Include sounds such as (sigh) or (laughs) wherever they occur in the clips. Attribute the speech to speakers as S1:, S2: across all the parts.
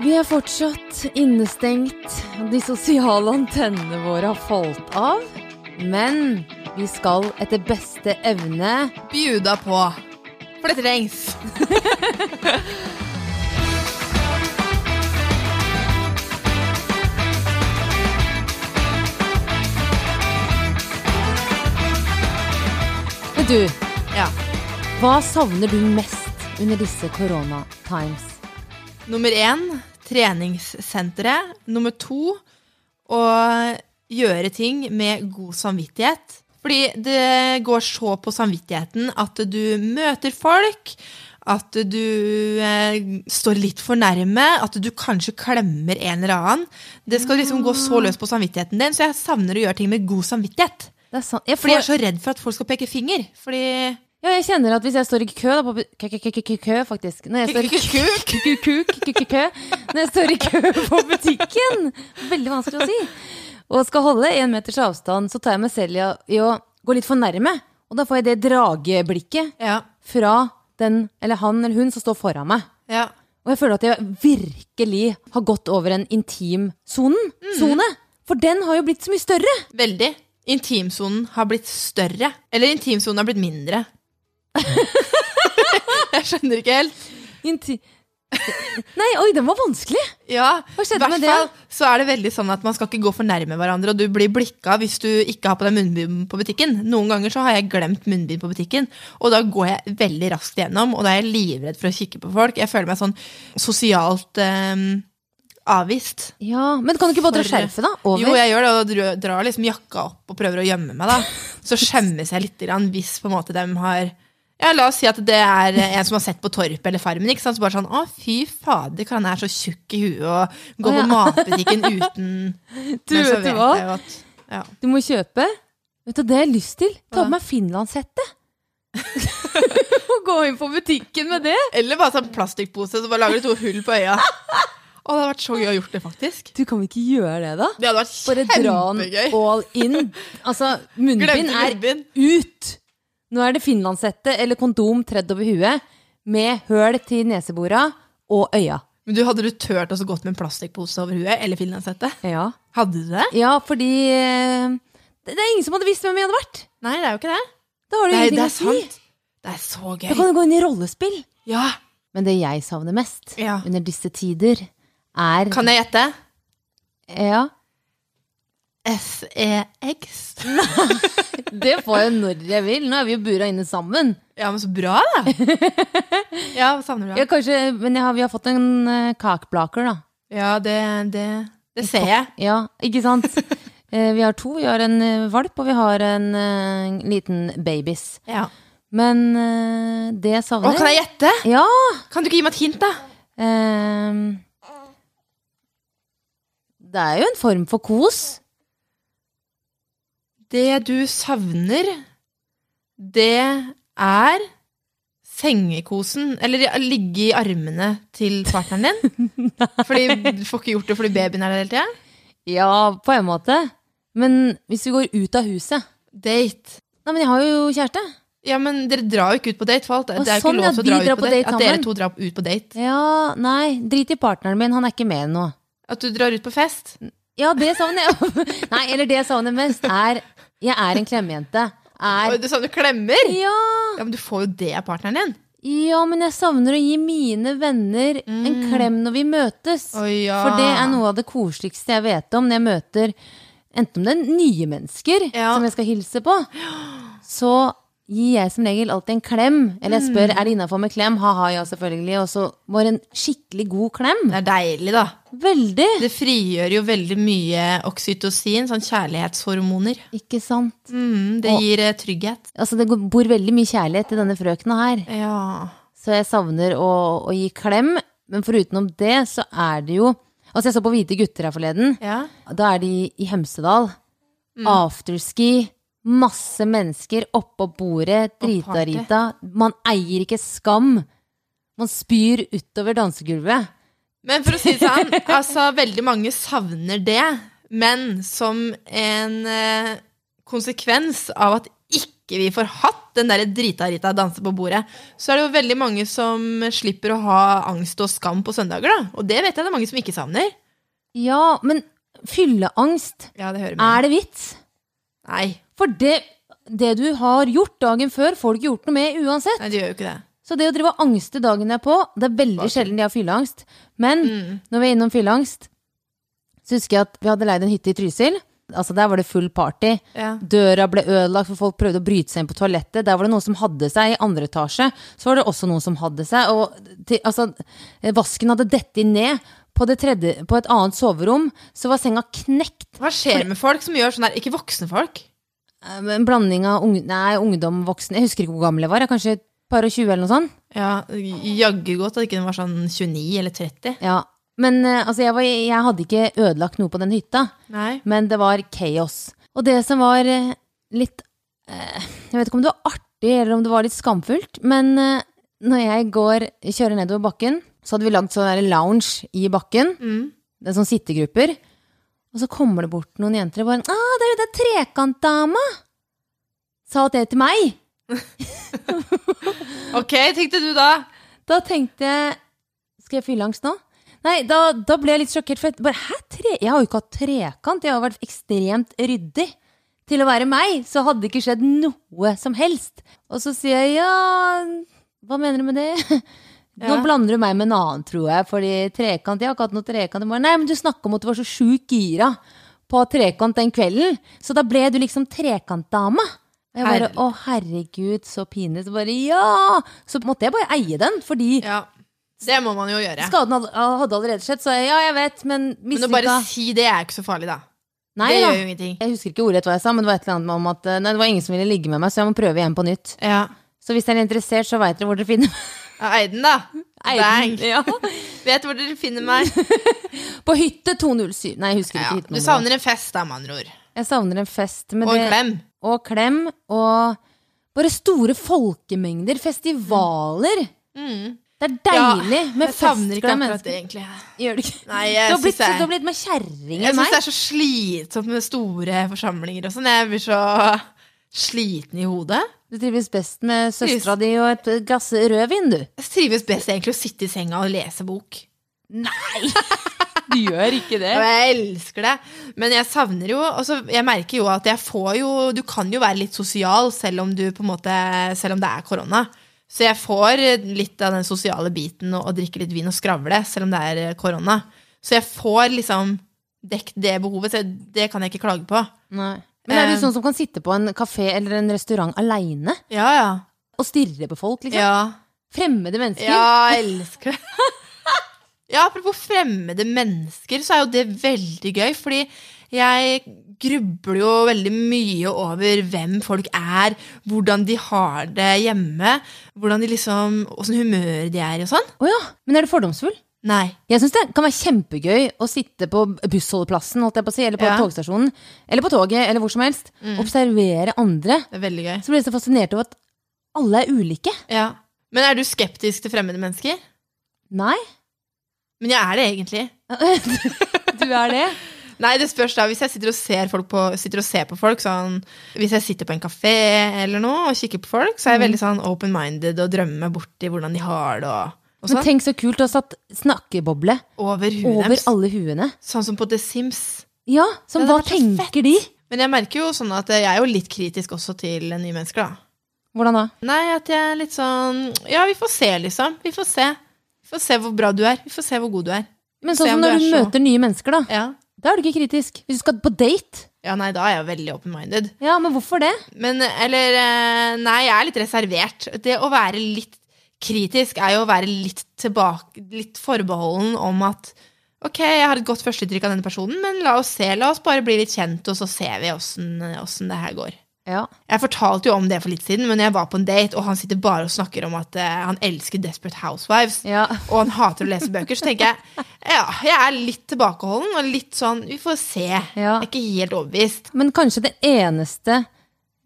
S1: Vi er fortsatt innestengt. De sosiale antennene våre har falt av. Men vi skal etter beste evne
S2: Bjuda på. For det trengs.
S1: (laughs) Men du,
S2: Ja.
S1: hva savner du mest under disse koronatimes?
S2: Nummer én treningssenteret. Nummer to å gjøre ting med god samvittighet. Fordi det går så på samvittigheten at du møter folk, at du eh, står litt for nærme, at du kanskje klemmer en eller annen. Det skal liksom gå så løs på samvittigheten din, så jeg savner å gjøre ting med god samvittighet.
S1: Det er sant. Jeg,
S2: Fordi jeg er
S1: får,
S2: så redd for at folk skal peke finger. Fordi
S1: ja, jeg kjenner at hvis jeg står i kø da, på, bu- kø, kø, kø, kø, kø, kø, faktisk. Når jeg står i kø, kø, kø, kø, kø, kø, kø, Når jeg står i kø på butikken. Veldig vanskelig å si. Og skal holde en meters avstand, så tar jeg meg selv i å, i å gå litt for nærme. Og da får jeg det drageblikket
S2: Ja.
S1: fra den, eller han eller hun som står foran meg.
S2: ja.
S1: Og jeg føler at jeg virkelig har gått over en intim sonen. Sone. For den har jo blitt så mye større.
S2: Veldig. Intimsonen har blitt større. Eller intimsonen har blitt mindre. (laughs) jeg skjønner ikke helt.
S1: Inti (laughs) Nei, oi, den var vanskelig.
S2: Ja,
S1: Hva skjedde
S2: hvert
S1: med det?
S2: fall Så er det veldig sånn at man skal ikke gå for nærme hverandre, og du blir blikka hvis du ikke har på deg munnbind på butikken. Noen ganger så har jeg glemt munnbind på butikken, og da går jeg veldig raskt gjennom, og da er jeg livredd for å kikke på folk. Jeg føler meg sånn sosialt eh, avvist.
S1: Ja, Men kan du ikke bare dra
S2: For-
S1: skjerfet, da? Over?
S2: Jo, jeg gjør det, og dra- drar liksom jakka opp og prøver å gjemme meg, da.
S1: (laughs)
S2: Så skjemmes jeg litt grann, hvis på en måte dem har ja, La oss si at det er en som har sett på Torp eller Farmen. ikke sant? Så bare sånn Å, fy fader, kan han er så tjukk i huet og gå
S1: Å, ja.
S2: på matbutikken uten
S1: (laughs) Du,
S2: Men så
S1: vet du
S2: vet
S1: hva?
S2: jeg jo at- ja.
S1: Du må kjøpe. Vet du det jeg har lyst til? Ta
S2: Hva?
S1: på meg finlandshette. Og gå inn på butikken med det.
S2: Eller bare sånn plastikkpose, så bare lager du to hull på
S1: (laughs)
S2: øya. Å, det hadde vært så gøy å gjort det, faktisk.
S1: Du kan vi ikke gjøre det, da?
S2: Det hadde
S1: Bare
S2: vært
S1: dra den
S2: kjempegøy.
S1: all in. Altså, munnbind
S2: Glemte
S1: er
S2: munnbind.
S1: ut! Nå er det finlandshette eller kondom tredd over huet med høl til nesebora og øya.
S2: Men du, hadde du turt å gått med en plastikkpose over huet eller finlandshette?
S1: Ja,
S2: Hadde du det?
S1: ja fordi eh, det, det er ingen som hadde visst hvem jeg hadde vært.
S2: Nei, det er jo ikke det.
S1: Da har du
S2: Nei,
S1: ingenting
S2: det
S1: å
S2: er
S1: si.
S2: sant. Det er så
S1: Da
S2: gøy.
S1: kan du gå inn i rollespill.
S2: Ja.
S1: Men det jeg savner mest
S2: Ja.
S1: under disse tider, er
S2: Kan jeg gjette?
S1: Ja,
S2: E SEX.
S1: det får jeg når jeg vil. Nå er vi jo bura inne sammen.
S2: Ja, men så bra, (laughs) da. Ja, hva savner du? da?
S1: Ja, kanskje, men jeg har, vi har fått en uh, kakeblaker, da.
S2: Ja, det, det, det ser jeg.
S1: Ja, ikke
S2: (laughs)
S1: sant? Eh, vi har to. Vi har en eh, valp, og vi har en eh, liten babys.
S2: Ja.
S1: Men eh, det savner
S2: Å, kan jeg gjette?
S1: Ja!
S2: Kan du ikke gi meg et hint, da?
S1: ehm, det er jo en form for kos.
S2: Det du savner, det er sengekosen. Eller ja, ligge i armene til partneren
S1: (laughs)
S2: din. Fordi du får ikke gjort det fordi babyen er der hele tida.
S1: Ja, på en måte. Men hvis vi går ut av huset
S2: Date.
S1: Nei, men jeg har jo kjæreste.
S2: Ja, men dere drar jo ikke ut på date, for alt.
S1: Å,
S2: Det er jo
S1: sånn,
S2: ikke
S1: ja,
S2: lov til å
S1: vi
S2: dra ut
S1: drar
S2: på
S1: på
S2: date.
S1: date
S2: At dere
S1: sammen.
S2: to drar ut på date.
S1: Ja, nei, drit i partneren min, han er ikke med nå.
S2: At du drar ut på fest.
S1: Ja, det savner jeg. (laughs) Nei, eller det jeg savner mest, er Jeg er en klemmejente. Er
S2: Oi, Du savner klemmer?
S1: Ja!
S2: Ja, men du får jo det av partneren din.
S1: Ja, men jeg savner å gi mine venner en klem når vi møtes.
S2: Mm. Oi, ja.
S1: For det er noe av det koseligste jeg vet om når jeg møter enten om det er nye mennesker
S2: Ja.
S1: som jeg skal hilse på, så gir jeg som regel alltid en klem. Eller
S2: Mm.
S1: jeg spør er det innafor med klem. Ha-ha, ja, selvfølgelig. Og så var det en skikkelig god klem.
S2: Det er deilig, da.
S1: Veldig.
S2: Det frigjør jo veldig mye oksytocin, sånn kjærlighetshormoner.
S1: Ikke sant?
S2: Mm, det
S1: Og-
S2: gir eh, trygghet.
S1: Altså, det går- bor veldig mye kjærlighet i denne frøkena her.
S2: Ja.
S1: Så jeg savner å, å gi klem. Men forutenom det, så er det jo Altså, jeg så på Hvite gutter her forleden.
S2: ja.
S1: Da er de i Hemsedal. Afterski. Masse mennesker oppå bordet. Drita-rita. Man eier ikke skam. Man spyr utover dansegulvet.
S2: Men for å si det sånn, altså veldig mange savner det. Men som en eh, konsekvens av at ikke ikke vi får hatt den der drita-rita danse på bordet, så er det jo veldig mange som slipper å ha angst og skam på søndager, da. Og det vet jeg det er mange som ikke savner.
S1: Ja, men fylleangst,
S2: Ja, det hører med.
S1: er det vits?
S2: Nei,
S1: For det, det du har gjort dagen før, får du ikke gjort noe med uansett.
S2: nei, det gjør jo ikke det.
S1: Så det å drive og angste dagen derpå, det er veldig sjelden de har fylleangst. Men når vi er innom fylleangst, så husker jeg at vi hadde leid en hytte i Trysil. Altså Der var det full party.
S2: Ja.
S1: Døra ble ødelagt, for folk prøvde å bryte seg inn på toalettet. Der var det noen som hadde seg. I andre etasje så var det også noen som hadde seg. Og til, altså, eh, vasken hadde dettet ned. På, det tredje, på et annet soverom så var senga knekt.
S2: Hva skjer med folk som gjør sånn der? Ikke voksne folk.
S1: Eh, En blanding av ung, nei, ungdom og voksne. Jeg husker ikke hvor gammel jeg var. Jeg er kanskje et par og tjue eller noe sånt.
S2: Ja, Jaggu godt at ikke den var sånn 29 eller 30.
S1: Ja, men eh, altså, jeg, var, jeg hadde ikke ødelagt noe på den hytta,
S2: Nei.
S1: men det var kaos. Og det som var eh, litt eh, Jeg vet ikke om det var artig eller om det var litt skamfullt, men eh, når jeg går, kjører nedover bakken, så hadde vi lagd sånn der lounge i bakken. Det er sånn sittegrupper. Og så kommer det bort noen jenter og bare 'Ah, det er jo den trekantdama!' Sa det til meg.
S2: Ok, tenkte du da.
S1: Da tenkte jeg Skal jeg fylle angst nå? Nei, da, da ble jeg litt sjokkert. For jeg bare, hæ, tre? Jeg har jo ikke hatt trekant. Jeg har vært ekstremt ryddig. Til å være meg så hadde det ikke skjedd noe som helst. Og så sier jeg ja Hva mener du med det? (laughs) Nå
S2: Ja.
S1: blander du meg med en annen, tror jeg. Fordi trekant, Jeg har ikke hatt noe trekant. i morgen. Nei, men du snakka om at du var så sjukt gira på trekant den kvelden. Så da ble du liksom trekantdama. Og jeg bare,
S2: Herregud.
S1: Å, herregud, så pinlig. Så bare ja! Så måtte jeg bare eie den, fordi
S2: Ja, det må man jo gjøre.
S1: skaden hadde, hadde allerede skjedd. Så jeg, ja, jeg vet, men
S2: Men å bare
S1: mislykka.
S2: si det er ikke så farlig, da.
S1: Nei
S2: det
S1: da.
S2: gjør jo ingenting.
S1: Jeg husker ikke ordrett hva jeg sa, men det var et eller annet om at eh, Nei, det var ingen som ville ligge med meg, så jeg må prøve igjen på nytt.
S2: Ja.
S1: Så hvis dere er interessert, så veit dere hvor dere finner meg. (laughs)
S2: Ja, Eiden, da.
S1: Eiden.
S2: Bang.
S1: Ja.
S2: Vet hvor dere finner
S1: (laughs)
S2: meg.
S1: På hytte 207. Nei, jeg husker
S2: Ja,
S1: ikke
S2: du
S1: hyttenummeret.
S2: savner en fest, da, med andre ord.
S1: Jeg savner en fest. men
S2: Og en
S1: det-
S2: klem.
S1: Og klem. Og bare store folkemengder. Festivaler. Mm. Det er deilig med
S2: jeg savner ikke
S1: festglade
S2: akkurat det,
S1: mennesker.
S2: egentlig.
S1: Gjør du ikke?
S2: Nei,
S1: Du
S2: jeg
S1: har
S2: syns
S1: blitt, du
S2: jeg
S1: har blitt med kjerring enn
S2: Jeg syns
S1: meg.
S2: det er så slitsomt med store forsamlinger og sånn. Jeg blir så sliten i hodet.
S1: Du trives best med søstera di og et glass rødvin, du.
S2: Jeg trives best egentlig å sitte i senga og lese bok.
S1: Du gjør ikke det.
S2: Og
S1: (laughs)
S2: jeg elsker det. Men jeg savner jo altså, Jeg merker jo at jeg får jo Du kan jo være litt sosial selv om du på en måte Selv om det er korona. Så jeg får litt av den sosiale biten og, og drikke litt vin og skravle selv om det er eh, korona. Så jeg får liksom dekket det behovet. Så jeg- det kan jeg ikke klage på.
S1: Nei. Men er
S2: Eh.
S1: du sånn som kan sitte på en kafé eller en restaurant aleine
S2: Ja, ja.
S1: og stirre på folk? liksom?
S2: Ja,
S1: Fremmede mennesker?
S2: ja jeg elsker det. (laughs) Ja, apropos fremmede mennesker, så er jo det veldig gøy, fordi jeg grubler jo veldig mye over hvem folk er, hvordan de har det hjemme, hvordan de liksom, åssen humør de er og sånn.
S1: Å ja. Men er du fordomsfull?
S2: Nei.
S1: Jeg syns det kan være kjempegøy å sitte på bussholdeplassen, holdt jeg på å si, eller på
S2: Ja. Mm.
S1: togstasjonen, eller på toget, eller hvor som helst. Observere andre.
S2: Det er veldig gøy.
S1: Så blir jeg så fascinert over at alle er ulike.
S2: Ja. Men er du skeptisk til fremmede mennesker? (laughs)
S1: Nei,
S2: Men jeg er det egentlig.
S1: du er det.
S2: Nei, det spørs da. Hvis jeg sitter og ser, folk på, sitter og ser på folk, sånn Hvis jeg sitter på en kafé eller noe og kikker på folk, så er jeg
S1: Mm.
S2: veldig sånn open-minded og drømmer meg borti hvordan de har det og, og
S1: Men
S2: sånn.
S1: tenk så kult å ha satt snakkeboble
S2: Over huet
S1: over
S2: deres.
S1: alle huene.
S2: Sånn som på The Sims.
S1: Ja, som
S2: Ja, det
S1: hva
S2: var så
S1: tenker
S2: fett.
S1: de?
S2: Men jeg merker jo sånn at jeg er jo litt kritisk også til nye mennesker, da.
S1: Hvordan da?
S2: Nei, at jeg er litt sånn Ja, vi får se, liksom. Vi får se. Vi får se hvor bra du er. Vi får se hvor god du er.
S1: Men
S2: Se
S1: sånn
S2: om
S1: som
S2: du
S1: når
S2: er
S1: du
S2: så-
S1: møter nye mennesker, da.
S2: Ja.
S1: Da er du ikke kritisk. Hvis du skal på date,
S2: ja, nei, da er jeg jo veldig open-minded.
S1: ja, men hvorfor det?
S2: Men eller eh, Nei, jeg er litt reservert. Det å være litt kritisk er jo å være litt tilbake Litt forbeholden om at Ok, jeg har et godt førsteinntrykk av denne personen, men la oss se. La oss bare bli litt kjent, og så ser vi åssen åssen det her går.
S1: Ja.
S2: Jeg fortalte jo om det for litt siden, men jeg var på en date, og han sitter bare og snakker om at eh, han elsker Desperate Housewives,
S1: Ja.
S2: og han hater å lese bøker. Så tenker jeg ja, jeg er litt tilbakeholden og litt sånn Vi får se. Jeg er ikke helt overbevist.
S1: Men kanskje den eneste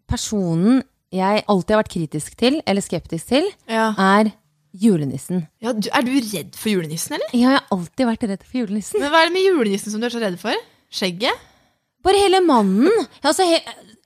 S1: personen jeg alltid har vært kritisk til, eller skeptisk til,
S2: Ja.
S1: er julenissen.
S2: Ja, du, er du redd for julenissen, eller?
S1: Jeg har alltid vært redd for julenissen.
S2: Men Hva er det med julenissen som du er så redd for? Skjegget?
S1: Bare hele mannen. Ja, Altså, he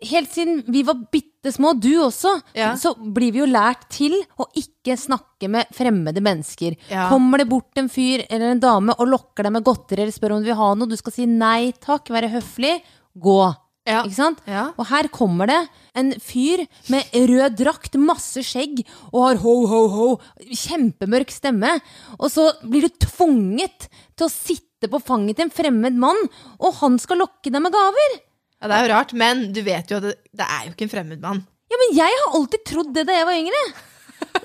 S1: helt siden vi var bitte det små, du også,
S2: Ja.
S1: så blir vi jo lært til å ikke snakke med fremmede mennesker.
S2: Ja.
S1: Kommer det bort en fyr eller en dame og lokker deg med godteri eller spør om du vil ha noe, du skal si nei takk, være høflig, gå.
S2: Ja.
S1: Ikke sant?
S2: Ja.
S1: Og her kommer det en fyr med rød drakt, masse skjegg og har ho, ho, ho, kjempemørk stemme. Og så blir du tvunget til å sitte på fanget til en fremmed mann, og han skal lokke deg med gaver.
S2: Ja, det er jo rart, men du vet jo at det, det er jo ikke en fremmed mann.
S1: Ja, men jeg har alltid trodd det da jeg var yngre.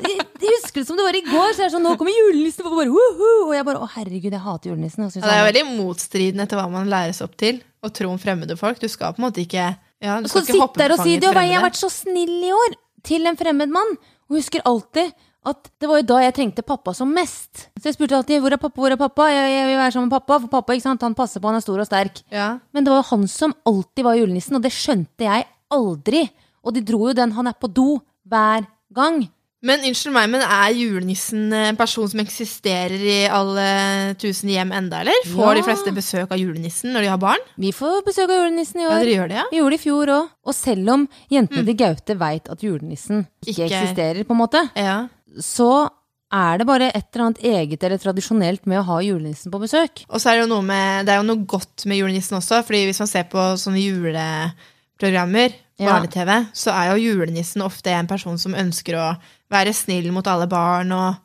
S1: Jeg, jeg husker det som det var i går. Så jeg er sånn, nå kommer julenissen, og bare, «Woohoo!» Og jeg bare, å herregud, jeg hater julenissen. altså. Og så
S2: Ja, det er jo veldig motstridende til hva man læres opp til, å tro om fremmede folk. Du skal på en måte ikke ja, du
S1: skal
S2: skal
S1: du
S2: ikke hoppe
S1: sitte der og si
S2: fanget
S1: det, og jeg har
S2: fremmede.
S1: vært så snill i år til en fremmed mann. Og husker alltid at det var jo da jeg trengte pappa som mest. Så jeg spurte alltid hvor er pappa, hvor er pappa? Jeg, jeg vil være sammen med pappa, for pappa ikke sant? han passer på, han er stor og sterk.
S2: Ja.
S1: Men det var jo han som alltid var julenissen, og det skjønte jeg aldri. Og de dro jo den 'han er på do' hver gang.
S2: Men unnskyld meg, men er julenissen en person som eksisterer i alle tusen hjem enda, eller?
S1: Ja.
S2: Får de fleste besøk av julenissen når de har barn?
S1: Vi får besøk av julenissen i
S2: Ja,
S1: år.
S2: dere gjør det, ja?
S1: Vi gjorde det i fjor òg. Og selv om jentene til Gaute veit at julenissen ikke,
S2: Ikke-
S1: eksisterer, på en måte,
S2: Ja.
S1: så er det bare et eller annet eget eller tradisjonelt med å ha julenissen på besøk.
S2: Og så er det jo noe med Det er jo noe godt med julenissen også, fordi hvis man ser på sånne juleprogrammer,
S1: Ja.
S2: barne-TV, så er jo julenissen ofte en person som ønsker å være snill mot alle barn og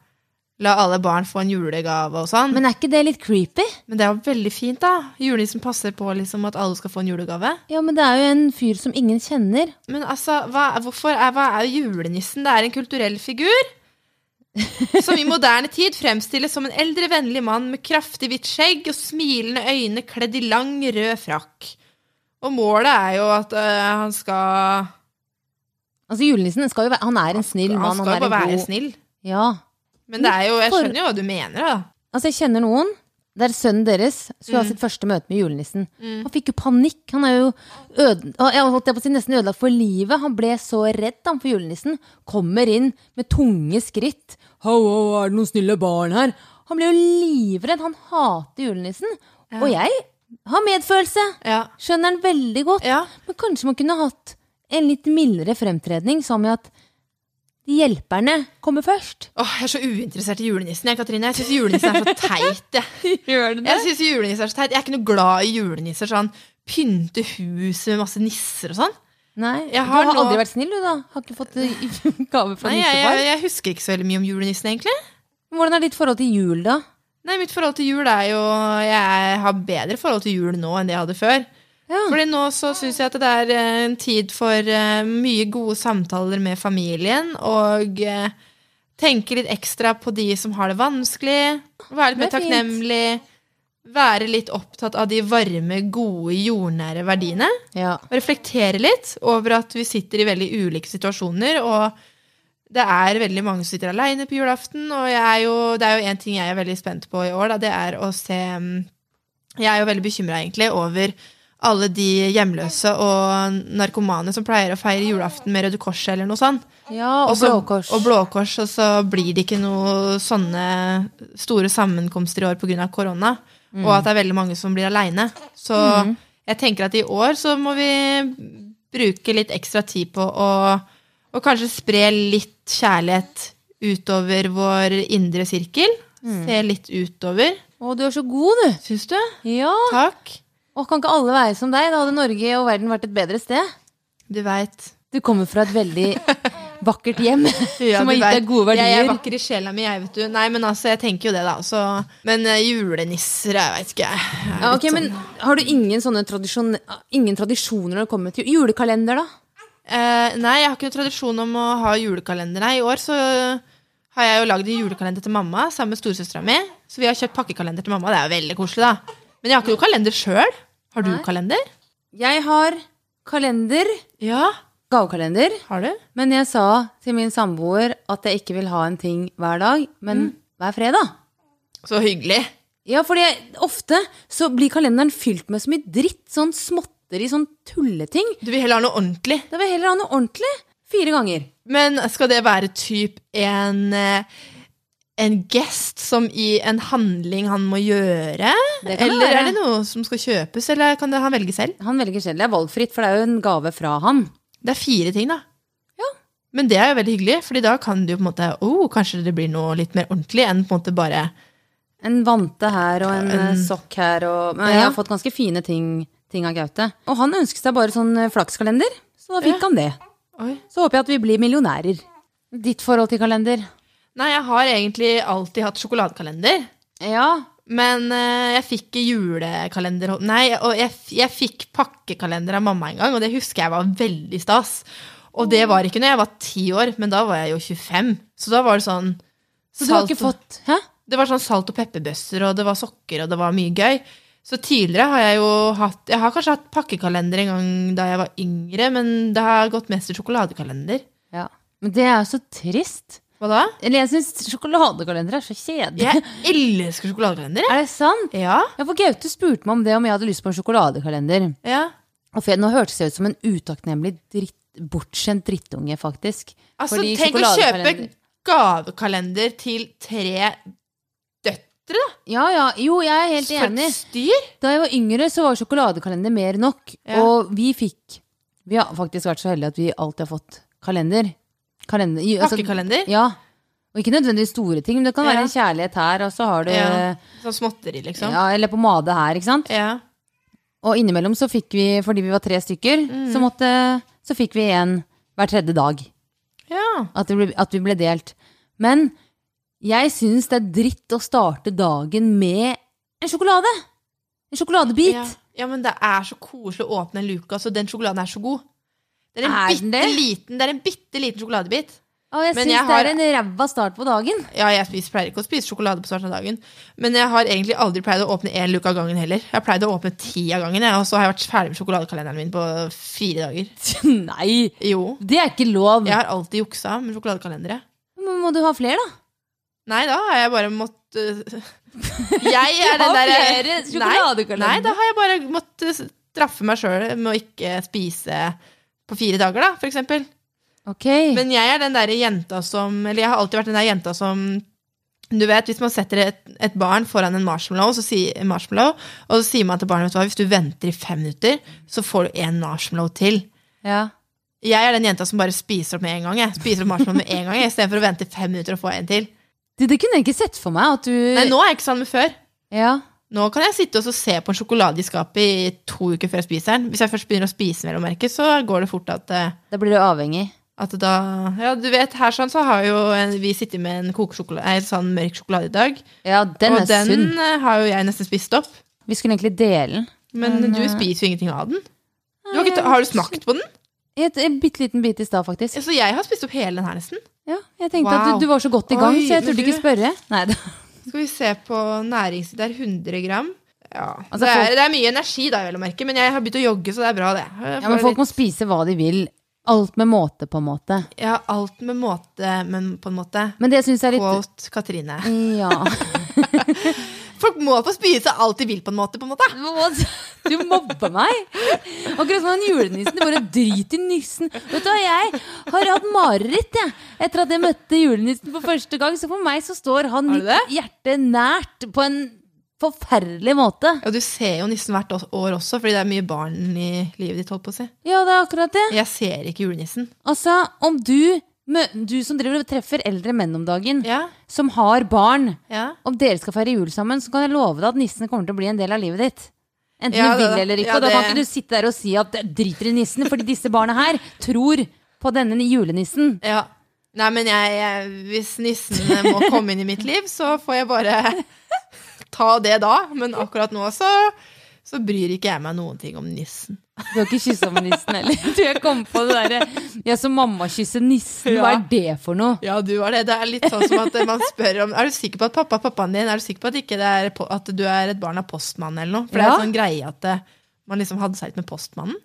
S2: la alle barn få en julegave og sånn. Men,
S1: Men er ikke det litt creepy?
S2: det er jo veldig fint, da. Julenissen passer på liksom at alle skal få en julegave.
S1: Ja, men det er jo en fyr som ingen kjenner.
S2: Men altså, hva, hvorfor er, hva er julenissen? Det er en kulturell figur. Som i moderne tid fremstilles som en eldre, vennlig mann med kraftig hvitt skjegg og smilende øyne kledd i lang, rød frakk. Og målet er jo at øh, han skal
S1: Altså, julenissen skal jo være Han er en snill
S2: Han
S1: mann.
S2: skal jo
S1: er
S2: bare
S1: en
S2: være
S1: god
S2: snill.
S1: Ja.
S2: Men det er jo, jeg
S1: For-
S2: skjønner jo hva du mener, da.
S1: Altså, jeg kjenner noen der sønnen deres skulle ha sitt første møte med julenissen. Han fikk jo panikk. Han er jo øde, å, jeg holdt på å si, nesten ødelagt for livet. Han ble så redd han for julenissen. Kommer inn med tunge skritt. Ho, ho, er det noen snille barn her? Han ble jo livredd. Han hater julenissen. Og jeg har medfølelse.
S2: Ja.
S1: Skjønner den veldig godt.
S2: ja.
S1: Men kanskje man kunne hatt en litt mildere fremtredning, som i at hjelperne kommer først.
S2: Åh, jeg er så uinteressert i julenissen, jeg, Katrine. Jeg syns julenissen er så teit, jeg.
S1: (laughs) Gjør
S2: Jeg synes julenisser er så teit. Jeg er ikke noe glad i julenisser. Sånn pynte huset med masse nisser og sånn.
S1: Nei,
S2: Jeg
S1: du
S2: har
S1: har
S2: nå-
S1: aldri vært snill, du da. Har ikke fått eh, (laughs) gave fra
S2: Nei, jeg, jeg,
S1: nissefar.
S2: jeg husker ikke så veldig mye om julenissen, egentlig.
S1: Hvordan er ditt forhold til jul, da?
S2: Nei, Mitt forhold til jul er jo Jeg har bedre forhold til jul nå enn det jeg hadde før.
S1: Ja.
S2: Fordi nå så syns jeg at det er eh, en tid for eh, mye gode samtaler med familien. Og eh, tenke litt ekstra på de som har det vanskelig. Være litt mer
S1: Det er fint.
S2: takknemlig. Være litt opptatt av de varme, gode, jordnære verdiene.
S1: Ja.
S2: og reflektere litt over at vi sitter i veldig ulike situasjoner, og det er veldig mange som sitter alene på julaften, og jeg er jo, det er jo en ting jeg er veldig spent på i år, da, det er å se mm, Jeg er jo veldig bekymra, egentlig, over alle de hjemløse og narkomane som pleier å feire julaften med Røde Kors eller noe sånt.
S1: ja og
S2: Og så-
S1: Blå Kors.
S2: Og Blå Kors, og så blir det ikke noe sånne store sammenkomster i år pga. korona.
S1: Mm.
S2: Og at det er veldig mange som blir aleine. Så jeg tenker at i år så må vi bruke litt ekstra tid på å, å kanskje spre litt kjærlighet utover vår indre sirkel.
S1: Mm.
S2: Se litt utover.
S1: Å, du er så god, du.
S2: Syns du?
S1: Ja.
S2: Takk.
S1: Og kan ikke alle være som deg? Da hadde Norge og verden vært et bedre sted.
S2: Du veit.
S1: Du kommer fra et
S2: (laughs)
S1: veldig vakkert (laughs) hjem som har
S2: du
S1: gitt
S2: vet.
S1: deg gode
S2: Jeg, jeg
S1: verdier.
S2: vakker i sjela mi, jeg, vet du. Nei, men altså, jeg tenker jo det, da. Så, men eh, julenisser, jeg veit ikke, jeg. jeg. er
S1: Ja,
S2: litt
S1: ok, men Har du ingen sånne tradisjon, ingen tradisjoner når det kommer til julekalender, da?
S2: Eh, nei, jeg har ikke noen tradisjon om å ha julekalender. Nei, i år så har jeg jo lagd en julekalender til mamma sammen med storesøstera mi. Så vi har kjøpt pakkekalender til mamma. Det er jo veldig koselig, da. Men jeg har ikke noen kalender sjøl. Har du
S1: Nei.
S2: kalender?
S1: Jeg har kalender,
S2: Ja.
S1: gavekalender.
S2: Har du?
S1: Men jeg sa til min samboer at jeg ikke vil ha en ting hver dag, men hver fredag.
S2: Så hyggelig.
S1: Ja, fordi jeg, ofte så blir kalenderen fylt med så mye dritt, sånn småtteri, sånn tulleting.
S2: Du vil heller ha noe ordentlig.
S1: Da vil jeg heller ha noe ordentlig. Fire ganger.
S2: Men skal det være typ en eh, en gest som i en handling han må gjøre?
S1: Det kan det
S2: Eller
S1: være.
S2: er det noe som skal kjøpes, eller kan det han velge selv?
S1: Han velger selv. Det er valgfritt, for det er jo en gave fra han.
S2: Det er fire ting, da. Men det er jo veldig hyggelig, fordi da kan du jo på en måte oh, Kanskje det blir noe litt mer ordentlig enn på en måte bare
S1: En vante her og en eh, sokk her og Men jeg
S2: Ja.
S1: har fått ganske fine ting, ting av Gaute. Og han ønsket seg bare sånn eh, flakskalender, så da fikk han det.
S2: Oi.
S1: Så håper jeg at vi blir millionærer. Ditt forhold til kalender?
S2: Nei, jeg har egentlig alltid hatt sjokoladekalender.
S1: Ja.
S2: Men eh, jeg fikk julekalender Nei, og jeg, f- jeg fikk pakkekalender av mamma en gang, og det husker jeg var veldig stas. Og det var ikke når jeg var ti år, men da var jeg jo 25. Så da var det sånn
S1: Så du har
S2: salt
S1: ikke
S2: og-
S1: fått Hæ?
S2: Det var sånn salt og pepperbøsser, og det var sokker, og det var mye gøy. Så tidligere har jeg jo hatt Jeg har kanskje hatt pakkekalender en gang da jeg var yngre, men det har gått mest i sjokoladekalender.
S1: Ja. Men det er jo så trist.
S2: Hva da?
S1: Eller jeg syns sjokoladekalender er så kjedelig.
S2: Jeg elsker sjokoladekalender,
S1: (laughs)
S2: jeg.
S1: Er det sant?
S2: Ja.
S1: Ja, for Gaute spurte meg om det, om jeg hadde lyst på en sjokoladekalender.
S2: ja.
S1: Og for jeg, nå hørtes jeg ut som en utakknemlig dritt, bortskjemt drittunge, faktisk.
S2: Altså,
S1: Fordi
S2: tenk å kjøpe
S1: sjokoladekalender-
S2: gavekalender til tre døtre, da!
S1: Ja, ja. Jo, jeg er helt
S2: For
S1: enig.
S2: et styr!
S1: Da jeg var yngre, så var sjokoladekalender mer nok.
S2: Ja.
S1: Og vi fikk Vi har faktisk vært så heldige at vi alltid har fått kalender. kalender i- altså-
S2: Pakkekalender.
S1: Ja. Og ikke nødvendigvis store ting, men det kan være
S2: Ja.
S1: en kjærlighet her, og så har du
S2: Ja. Sånn småtteri, liksom. Ja.
S1: ja, Eller pomade her, ikke sant. Og innimellom så fikk vi, fordi vi var tre stykker,
S2: Mm.
S1: så, måtte, så fikk vi en hver tredje dag.
S2: ja.
S1: At, det ble, at vi ble delt. Men jeg syns det er dritt å starte dagen med en sjokolade. En sjokoladebit.
S2: Ja. ja, men det er så koselig å åpne en luke. Altså, den sjokoladen er så god. Det er en,
S1: Er den
S2: bitte,
S1: det?
S2: liten, det er en bitte liten sjokoladebit.
S1: Og jeg
S2: Men
S1: syns
S2: jeg
S1: det
S2: har-
S1: er en ræva start på dagen. (laughs)
S2: Ja, jeg spiser, pleier ikke å spise sjokolade på starten av dagen. Men jeg har egentlig aldri pleid å åpne én luke av gangen heller. Jeg pleide å åpne ti av gangen, jeg, og så har jeg vært ferdig med sjokoladekalenderen min på fire dager.
S1: Nei,
S2: Jo.
S1: det er ikke lov.
S2: Jeg har alltid juksa med sjokoladekalendere.
S1: Men må du ha flere, da?
S2: Nei, da har jeg bare måttet eh, Jeg
S1: (laughs)
S2: er
S1: har
S2: den derre
S1: flere sjokoladekalendere.
S2: Nei, nei, da har jeg bare måttet straffe meg sjøl med å ikke spise på fire dager, da, for eksempel.
S1: Ok.
S2: Men jeg er den der jenta som Eller jeg har alltid vært den der jenta som Du vet, Hvis man setter et, et barn foran en marshmallow, så sier, marshmallow, og så sier man til barnet vet du hva, hvis du venter i fem minutter, så får du en marshmallow til.
S1: ja.
S2: Jeg er den jenta som bare spiser opp med en gang. Jeg. Spiser opp marshmallow med en gang jeg, Istedenfor å vente i fem minutter og få en til.
S1: Du, det kunne jeg ikke sett for meg at du
S2: Nei, Nå er jeg ikke sånn med før.
S1: Ja.
S2: Nå kan jeg sitte og så se på en sjokolade i skapet i to uker før jeg spiser den. Hvis jeg først begynner å spise mellom merket, så går det fort at eh,
S1: Da blir du avhengig.
S2: At da, ja, du vet, her sånn så har jo en, vi sittet med en kokesjokolade, nei, sånn mørk sjokolade i dag.
S1: Ja, den
S2: og
S1: er
S2: den
S1: sunn.
S2: eh, har jo jeg nesten spist opp.
S1: Vi skulle egentlig dele den. eh,
S2: Men du spiser jo ingenting av den. Du har, ikke, har du smakt på den?
S1: I et, en bitte liten bit i stad, faktisk.
S2: Så jeg har spist opp hele den her nesten.
S1: Ja, jeg tenkte
S2: Wow.
S1: at du, du var så godt i gang,
S2: Oi,
S1: så jeg turte
S2: men
S1: ikke
S2: du-
S1: spørre. Nei,
S2: (laughs)
S1: det,
S2: Skal vi se på nærings... Det er 100 gram. Ja.
S1: Altså,
S2: det,
S1: folk-
S2: er, det er mye energi da, vel å merke, men jeg har begynt å jogge, så det er bra, det. Jeg
S1: ja, men
S2: får
S1: folk må
S2: litt-
S1: spise hva de vil. Alt med måte, på en måte.
S2: Ja, alt med måte, men på en måte.
S1: Men det syns jeg er litt
S2: Quote Katrine.
S1: Ja.
S2: (laughs) Folk må få spise alt de vil, på en måte. på en måte.
S1: Du mobber meg! Akkurat som han julenissen. Du bare driter i nissen. Vet du hva, jeg har hatt mareritt, jeg. Etter at jeg møtte julenissen for første gang. Så for meg så står han
S2: Har du
S1: mitt hjerte nært på en forferdelig måte.
S2: Ja, du ser jo nissen hvert ås- år også, fordi det er mye barn i livet ditt, holdt på å si.
S1: Ja, det er akkurat det.
S2: Jeg ser ikke julenissen.
S1: Altså, om du, mø- du som driver og treffer eldre menn om dagen,
S2: Ja,
S1: som har barn
S2: ja.
S1: Om dere skal feire jul sammen, så kan jeg love deg at nissen kommer til å bli en del av livet ditt. Enten
S2: Ja,
S1: du vil
S2: det-
S1: eller ikke.
S2: ja,
S1: og da kan
S2: det-
S1: ikke du sitte der og si at jeg driter i nissen, fordi disse barna her tror på denne julenissen.
S2: ja. Nei, men jeg, jeg, hvis nissen må komme inn i mitt liv, så får jeg bare ta det da. Men akkurat nå så, så bryr ikke jeg meg noen ting om nissen.
S1: Du har ikke kyssa med nissen heller. (laughs) Du, jeg kom på det derre Ja, så mamma kysser nissen, hva
S2: Ja.
S1: er det for noe?
S2: Ja, du var det. Det er litt sånn som at man spør om Er du sikker på at pappa er pappaen din? Er du sikker på at, ikke det er, po- at du er et barn av postmannen eller noe? For det er
S1: Ja.
S2: en sånn greie at eh, man liksom hadde seg litt med postmannen.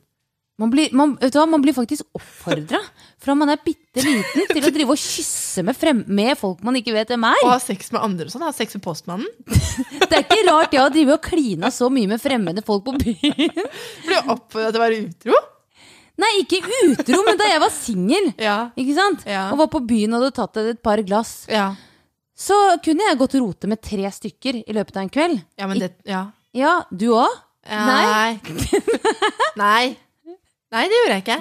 S1: Man blir, man, vet du hva, man blir faktisk oppfordra fra man er bitte liten til å drive og kysse med, frem, med folk man ikke vet hvem er.
S2: Å ha sex med andre og sånn. Ha sex med postmannen.
S1: Det er ikke rart jeg har drevet og klina så mye med fremmede folk på byen.
S2: Ble jeg oppfordret til å være utro?
S1: Nei, ikke utro, men da jeg var singel.
S2: Ja.
S1: Ikke sant?
S2: Ja.
S1: Og var på byen og hadde tatt deg et par glass.
S2: Ja,
S1: Så kunne jeg gått og rote med tre stykker i løpet av en kveld.
S2: men det ja.
S1: Ja, du òg?
S2: Nei. Nei. Nei, det gjorde jeg ikke.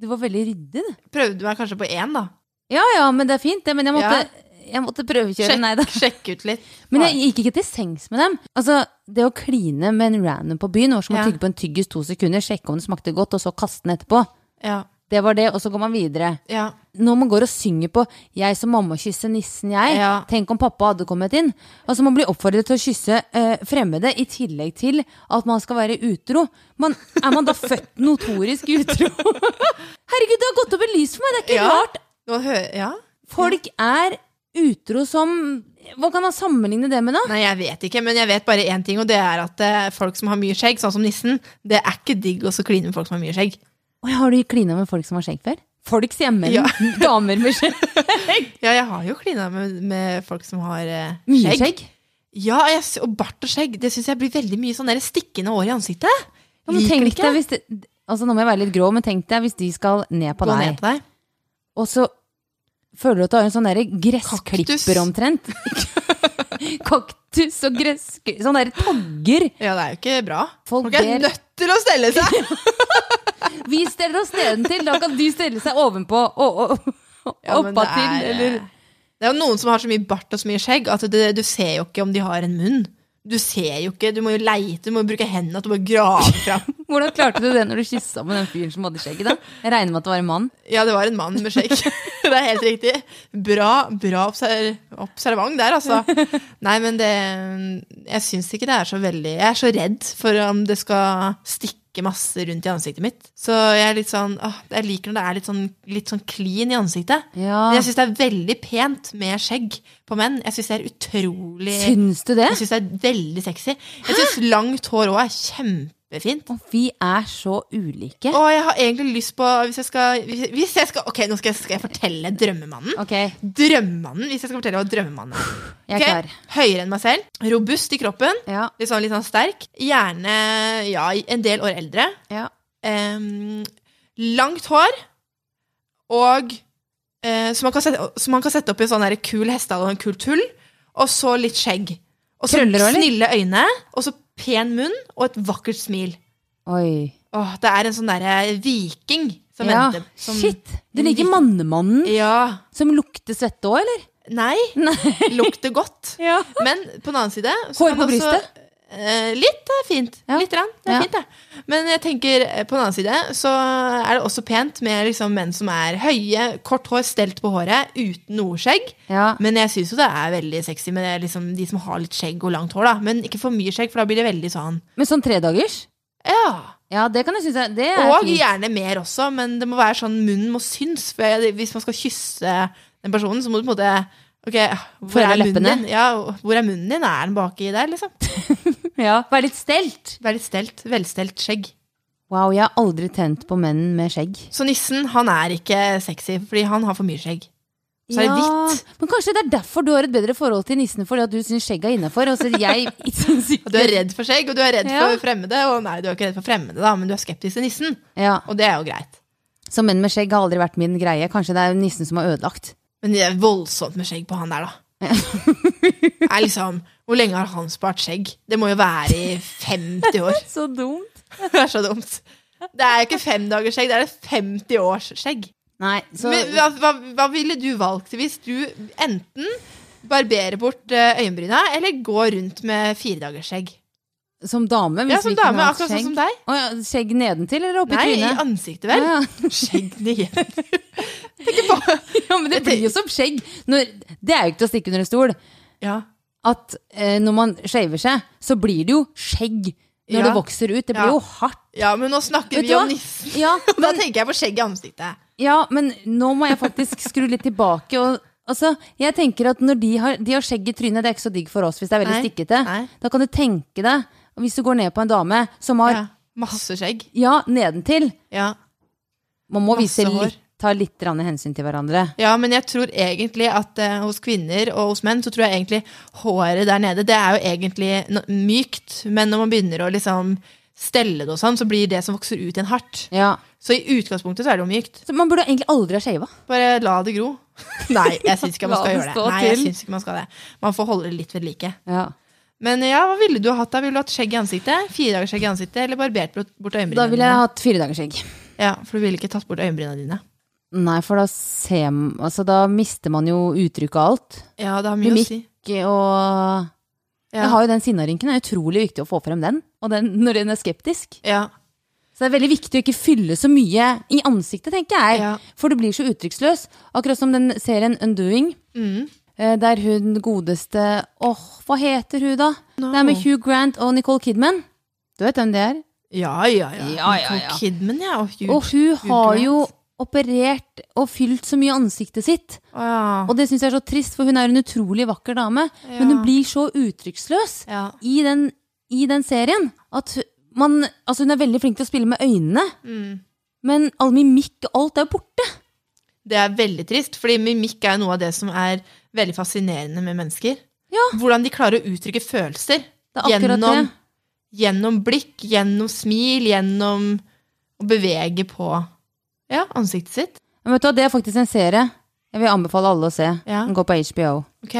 S1: Du var veldig ryddig, du.
S2: Prøvde du meg kanskje på én, da?
S1: Ja ja, men det er fint, det. Men jeg måtte, jeg måtte prøvekjøre. Nei da.
S2: Sjekk, sjekk ut litt.
S1: Men jeg gikk ikke til sengs med dem. Altså, Det å kline med en random på byen var som å
S2: Ja.
S1: tygge på en tyggis to sekunder, sjekke om det smakte godt, og så kaste den etterpå.
S2: Ja,
S1: Det var det, og så går man videre.
S2: ja,
S1: Når man går og synger på 'Jeg som mamma kysser nissen, jeg',
S2: Ja.
S1: tenk om pappa hadde kommet inn. Altså Man blir oppfordret til å kysse eh, fremmede, i tillegg til at man skal være utro. Man, er man da født notorisk utro? (laughs) Herregud, det har gått opp et lys for meg! Det er ikke
S2: Ja.
S1: rart
S2: Nå hø- ja.
S1: Folk er utro som Hva kan man sammenligne det med, da?
S2: Nei, jeg vet ikke, men jeg vet bare én ting, og det er at eh, folk som har mye skjegg, sånn som nissen, det er ikke digg å så kline med folk som har mye skjegg.
S1: Oi, har du klina med folk som har skjegg før? Folks hjemme,
S2: Ja.
S1: (laughs) damer med skjegg.
S2: Ja, jeg har jo klina med, med folk som har eh,
S1: Mye
S2: skjegg.
S1: skjegg.
S2: Ja, jeg, sy- og bart og skjegg. Det syns jeg blir veldig mye sånn der stikkende hår i ansiktet.
S1: Ja, men
S2: Liker
S1: tenk
S2: det ikke.
S1: deg hvis det, altså nå må jeg være litt grå, men tenk deg hvis de skal ned på
S2: Gå
S1: deg,
S2: ned på deg.
S1: og så føler du at du har en sånn derre gressklipper
S2: Kaktus.
S1: omtrent. (laughs) Kaktus og gressklipper Sånne derre tagger.
S2: Ja, det er jo ikke bra.
S1: Folk
S2: Folk er
S1: ber-
S2: nødt til å stelle
S1: (laughs)
S2: seg!
S1: Vi steller oss nedentil, da kan de stelle seg ovenpå og, og, og
S2: Ja, men det
S1: oppatil,
S2: er, eh,
S1: eller
S2: Det er jo noen som har så mye bart og så mye skjegg at det, du ser jo ikke om de har en munn. Du ser jo ikke, du må jo leite, du må jo bruke hendene, at du må grave fram.
S1: Hvordan klarte du det når du kyssa med den fyren som hadde skjegget? da? Jeg regner med at det var en mann.
S2: Ja, det var en mann med skjegg. (laughs) Det er helt riktig. Bra, bra obser observant der, altså. Nei, men det Jeg syns ikke det er så veldig Jeg er så redd for om det skal stikke masse rundt i ansiktet mitt. Så jeg er litt sånn åh, Jeg liker når det er litt sånn, litt sånn clean i ansiktet.
S1: Ja.
S2: Men jeg syns det er veldig pent med skjegg på menn. Jeg syns det er utrolig
S1: Syns du det?
S2: Jeg syns det er veldig sexy. Jeg syns langt hår òg er kjempefint.
S1: Og vi er så ulike.
S2: Og jeg har egentlig lyst på Hvis jeg skal, hvis jeg- hvis jeg skal Ok, nå skal jeg, skal jeg fortelle drømmemannen.
S1: Ok, jeg
S2: Drømmemannen, hvis jeg skal fortelle hva drømmemannen er.
S1: er
S2: Ok?
S1: klar.
S2: Høyere enn meg selv. Robust i kroppen.
S1: Ja,
S2: Litt sånn, litt sånn sterk. Gjerne ja, en del år eldre.
S1: ja.
S2: Em, langt hår. Og eh, som, man kan sette, som man kan sette opp i en sånn der kul hestehale og en kult hull. Og så litt skjegg. Og så
S1: Krøller også, eller?
S2: snille øyne. Og så pen munn og et vakkert smil.
S1: Oi.
S2: Åh, det er en sånn derre viking som
S1: Ja,
S2: venter. Som,
S1: shit. Du liker mannemannen
S2: Ja.
S1: som lukter svette òg, eller?
S2: Nei.
S1: Nei.
S2: Lukter godt.
S1: (laughs) Ja.
S2: Men på den annen side så
S1: Hår
S2: kan
S1: på
S2: det også-
S1: brystet?
S2: Eh, litt er fint.
S1: Ja.
S2: Litt rann, det er
S1: Ja.
S2: fint, det. Men jeg tenker, eh, på den annen side så er det også pent med liksom menn som er høye, kort hår stelt på håret, uten noe skjegg.
S1: Ja.
S2: Men jeg syns jo det er veldig sexy med det, liksom, de som har litt skjegg og langt hår. da Men ikke for mye skjegg, for da blir det veldig sånn
S1: Men sånn tredagers?
S2: Ja.
S1: Ja, det kan jeg synes er Det er
S2: Og
S1: fint.
S2: gjerne mer også, men det må være sånn munnen må syns. For jeg, hvis man skal kysse den personen, så må du på en måte Ok, hvor
S1: Føle
S2: er munnen
S1: leppene.
S2: din? Ja, hvor er munnen din? Er den baki der, liksom?
S1: Ja, Vær litt stelt.
S2: Vær litt stelt. Velstelt skjegg.
S1: Wow, jeg har aldri tent på menn med skjegg.
S2: Så nissen han er ikke sexy, fordi han har for mye skjegg. Så er det hvitt.
S1: Men kanskje det er derfor du har et bedre forhold til nissen, fordi at du syns skjegget er innafor, og så (laughs) jeg syns
S2: Og
S1: ikke
S2: Du
S1: sånn
S2: er redd for skjegg, og du er redd
S1: Ja.
S2: for fremmede. Og nei, du er ikke redd for fremmede, da, men du er skeptisk til nissen.
S1: Ja.
S2: Og det er jo greit.
S1: Så menn med skjegg har aldri vært min greie. Kanskje det er nissen som har ødelagt.
S2: Men det er voldsomt med skjegg på han der, da. (laughs) Det er liksom, Hvor lenge har han spart skjegg? Det må jo være i 50 år.
S1: Så dumt.
S2: Det er så dumt. Det er jo ikke fem dagers skjegg, det er et 50 års skjegg.
S1: Nei, så
S2: Men hva, hva, hva ville du valgt hvis du enten barberer bort eh, øyenbryna, eller går rundt med firedagersskjegg?
S1: Som dame? Hvis
S2: Ja, som
S1: vi kunne
S2: dame,
S1: hatt
S2: akkurat sånn
S1: skjegg.
S2: som deg.
S1: Å ja, skjegg nedentil eller oppi
S2: Nei, i
S1: trynet?
S2: ansiktet, vel?
S1: Ja, (laughs)
S2: Skjegg ned. Tenk på
S1: ja, men det blir jo som skjegg. Når, det er jo ikke til å stikke under en stol.
S2: Ja.
S1: At eh, når man shaver seg, så blir det jo skjegg når
S2: Ja.
S1: det vokser ut. Det blir
S2: Ja.
S1: jo hardt.
S2: ja, men nå snakker
S1: Vet
S2: vi
S1: du hva?
S2: om nissen.
S1: Ja,
S2: Da tenker jeg på skjegg i ansiktet.
S1: ja, men nå må jeg faktisk skru litt tilbake. Og, altså, jeg tenker at når de har, de har skjegg i trynet, det er ikke så digg for oss hvis det er veldig
S2: Nei.
S1: stikkete.
S2: Nei.
S1: Da kan du tenke deg, hvis du går ned på en dame som har
S2: Ja. Masse skjegg.
S1: ja, nedentil
S2: Ja.
S1: Man må
S2: Masse
S1: vise
S2: hår.
S1: litt, ta litt grann hensyn til hverandre.
S2: ja, men jeg tror egentlig at eh, hos kvinner og hos menn, så tror jeg egentlig håret der nede, det er jo egentlig no mykt, men når man begynner å liksom stelle det og sånn, så blir det som vokser ut igjen hardt.
S1: Ja.
S2: Så i utgangspunktet så er det jo mykt.
S1: Så man burde egentlig aldri ha shava.
S2: Bare la det gro. (laughs) Nei, jeg syns ikke man
S1: La
S2: skal
S1: det
S2: gjøre det.
S1: stå
S2: Nei, jeg
S1: til.
S2: synes ikke Man skal det. Man får holde det litt ved like.
S1: Ja.
S2: Men ja, hva ville du ha hatt da? Ville du hatt skjegg i ansiktet? Fire dager skjegg i ansiktet, eller barbert bort bort
S1: Da
S2: øyenbrynene?
S1: ville jeg hatt fire dagers skjegg.
S2: dine? Ja, For du ville ikke tatt bort øyenbryna dine.
S1: Nei, for da, ser, m- altså, da mister man jo uttrykk av alt.
S2: Ja, det har mye å
S1: Mimikk
S2: si.
S1: og
S2: Ja.
S1: Jeg har jo den sinnarynken. Det er utrolig viktig å få frem den, og den når den er skeptisk.
S2: ja.
S1: Så det er veldig viktig å ikke fylle så mye i ansiktet, tenker jeg.
S2: Ja.
S1: For du blir så uttrykksløs. Akkurat som den serien Undoing,
S2: Mm.
S1: eh, der hun godeste Åh, hva heter hun, da?
S2: No.
S1: Det er med Hugh Grant og Nicole Kidman. Du vet hvem det er?
S2: ja, ja, ja.
S1: Ja, ja,
S2: Nicole
S1: ja.
S2: Kidman, ja. Og Hugh.
S1: Og hun har
S2: Grant.
S1: jo operert og fylt så mye ansiktet sitt.
S2: Å, ja.
S1: Og det syns jeg er så trist, for hun er en utrolig vakker dame.
S2: Ja.
S1: Men hun blir så uttrykksløs
S2: ja.
S1: i, den, i den serien at man Altså, hun er veldig flink til å spille med øynene,
S2: Mm.
S1: men all mimikk og alt er jo borte.
S2: Det er veldig trist, fordi mimikk er jo noe av det som er veldig fascinerende med mennesker. Hvordan de klarer å uttrykke følelser.
S1: Det er akkurat
S2: gjennom,
S1: det.
S2: gjennom blikk, gjennom smil, gjennom å bevege på ja, ansiktet sitt.
S1: Men vet du hva, det er faktisk en serie jeg vil anbefale alle å se.
S2: Ja.
S1: Den går på HBO.
S2: Ok,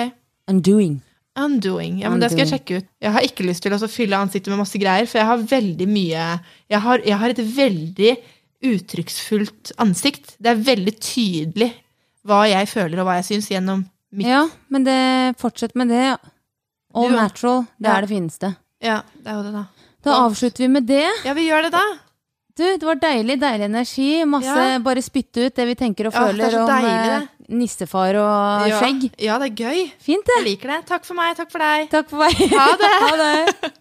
S1: Undoing.
S2: Undoing. Ja, men det skal jeg
S1: Undoing.
S2: sjekke ut. Jeg har ikke lyst til å så fylle ansiktet med masse greier, for jeg har veldig mye Jeg har, jeg har et veldig uttrykksfullt ansikt. Det er veldig tydelig hva jeg føler og hva jeg syns gjennom mitt
S1: Ja, men det, fortsett med det. All
S2: Du-
S1: natural, det
S2: Ja.
S1: er det fineste.
S2: Ja, det er jo det, da.
S1: Da avslutter vi med det.
S2: Ja, vi gjør det, da.
S1: Du, det var deilig, deilig energi. Masse
S2: Ja.
S1: bare spytte ut det vi tenker og
S2: Ja, det er
S1: føler
S2: så
S1: om
S2: deilig,
S1: eh, nissefar og Ah, skjegg.
S2: Ja, det er gøy.
S1: Fint, det.
S2: Jeg liker det. Takk for meg, takk for deg.
S1: Takk for meg.
S2: Ha det.
S1: (laughs) Ha det.